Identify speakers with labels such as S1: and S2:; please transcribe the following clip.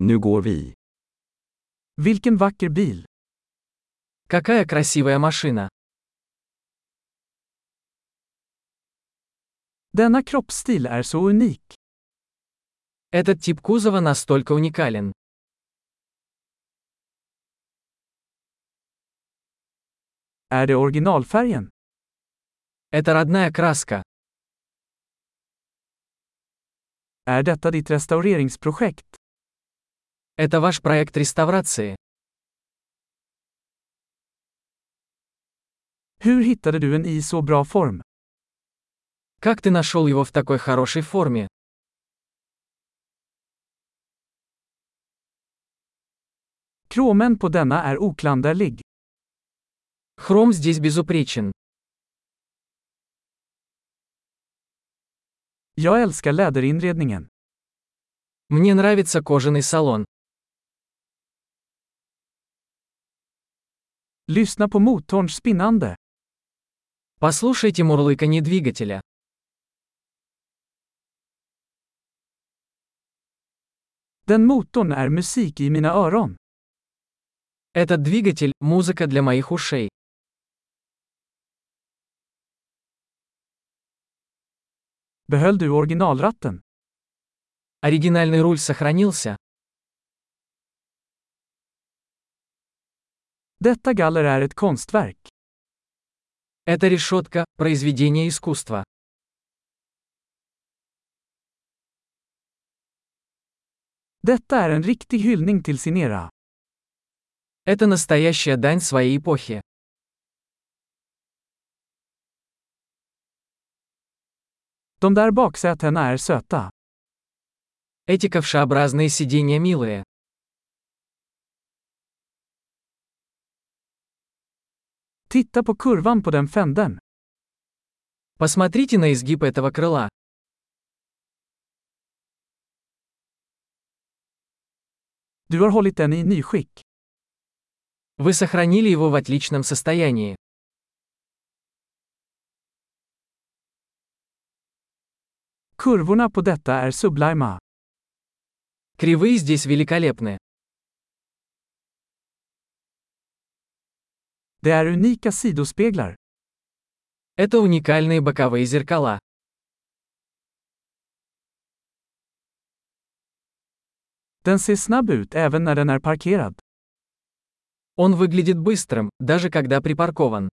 S1: Nu går vi.
S2: Vilken vacker bil.
S3: Какая красивая машина.
S2: Denna kroppsstil är så unik.
S3: Этот тип кузова настолько уникален.
S2: Är det originalfärgen?
S3: Это родная краска.
S2: Är detta ditt restaureringsprojekt?
S3: Это ваш проект реставрации.
S2: Hur hittade du en i så bra form?
S3: Как ты нашел его в такой хорошей форме?
S2: Kromen på denna är oklanderlig.
S3: Хром здесь безупречен.
S2: Jag älskar läderinredningen.
S3: Мне нравится кожаный салон.
S2: Lyssna på motorns spinnande.
S3: Послушайте мурлыканье двигателя.
S2: Den motorn är musik i mina öron.
S3: Этот двигатель – музыка для моих ушей.
S2: Behöll du originalratten?
S3: Оригинальный руль сохранился.
S2: Detta galler är ett konstverk.
S3: Эта решетка – произведение искусства.
S2: Detta är en riktig hyllning till sin era.
S3: Это настоящая дань своей эпохи.
S2: De där baksätena är söta.
S3: Эти ковшеобразные сиденья милые.
S2: Titta på kurvan på den fänden.
S3: Посмотрите на изгиб этого крыла.
S2: Du har hållit den i nyskick.
S3: Вы сохранили его в отличном состоянии.
S2: Kurvorna på detta är sublima.
S3: Кривые здесь великолепны.
S2: Det är unika sidospeglar.
S3: Это уникальные боковые зеркала.
S2: Den ser snabb ut även när den är parkerad.
S3: Он выглядит быстрым, даже когда припаркован.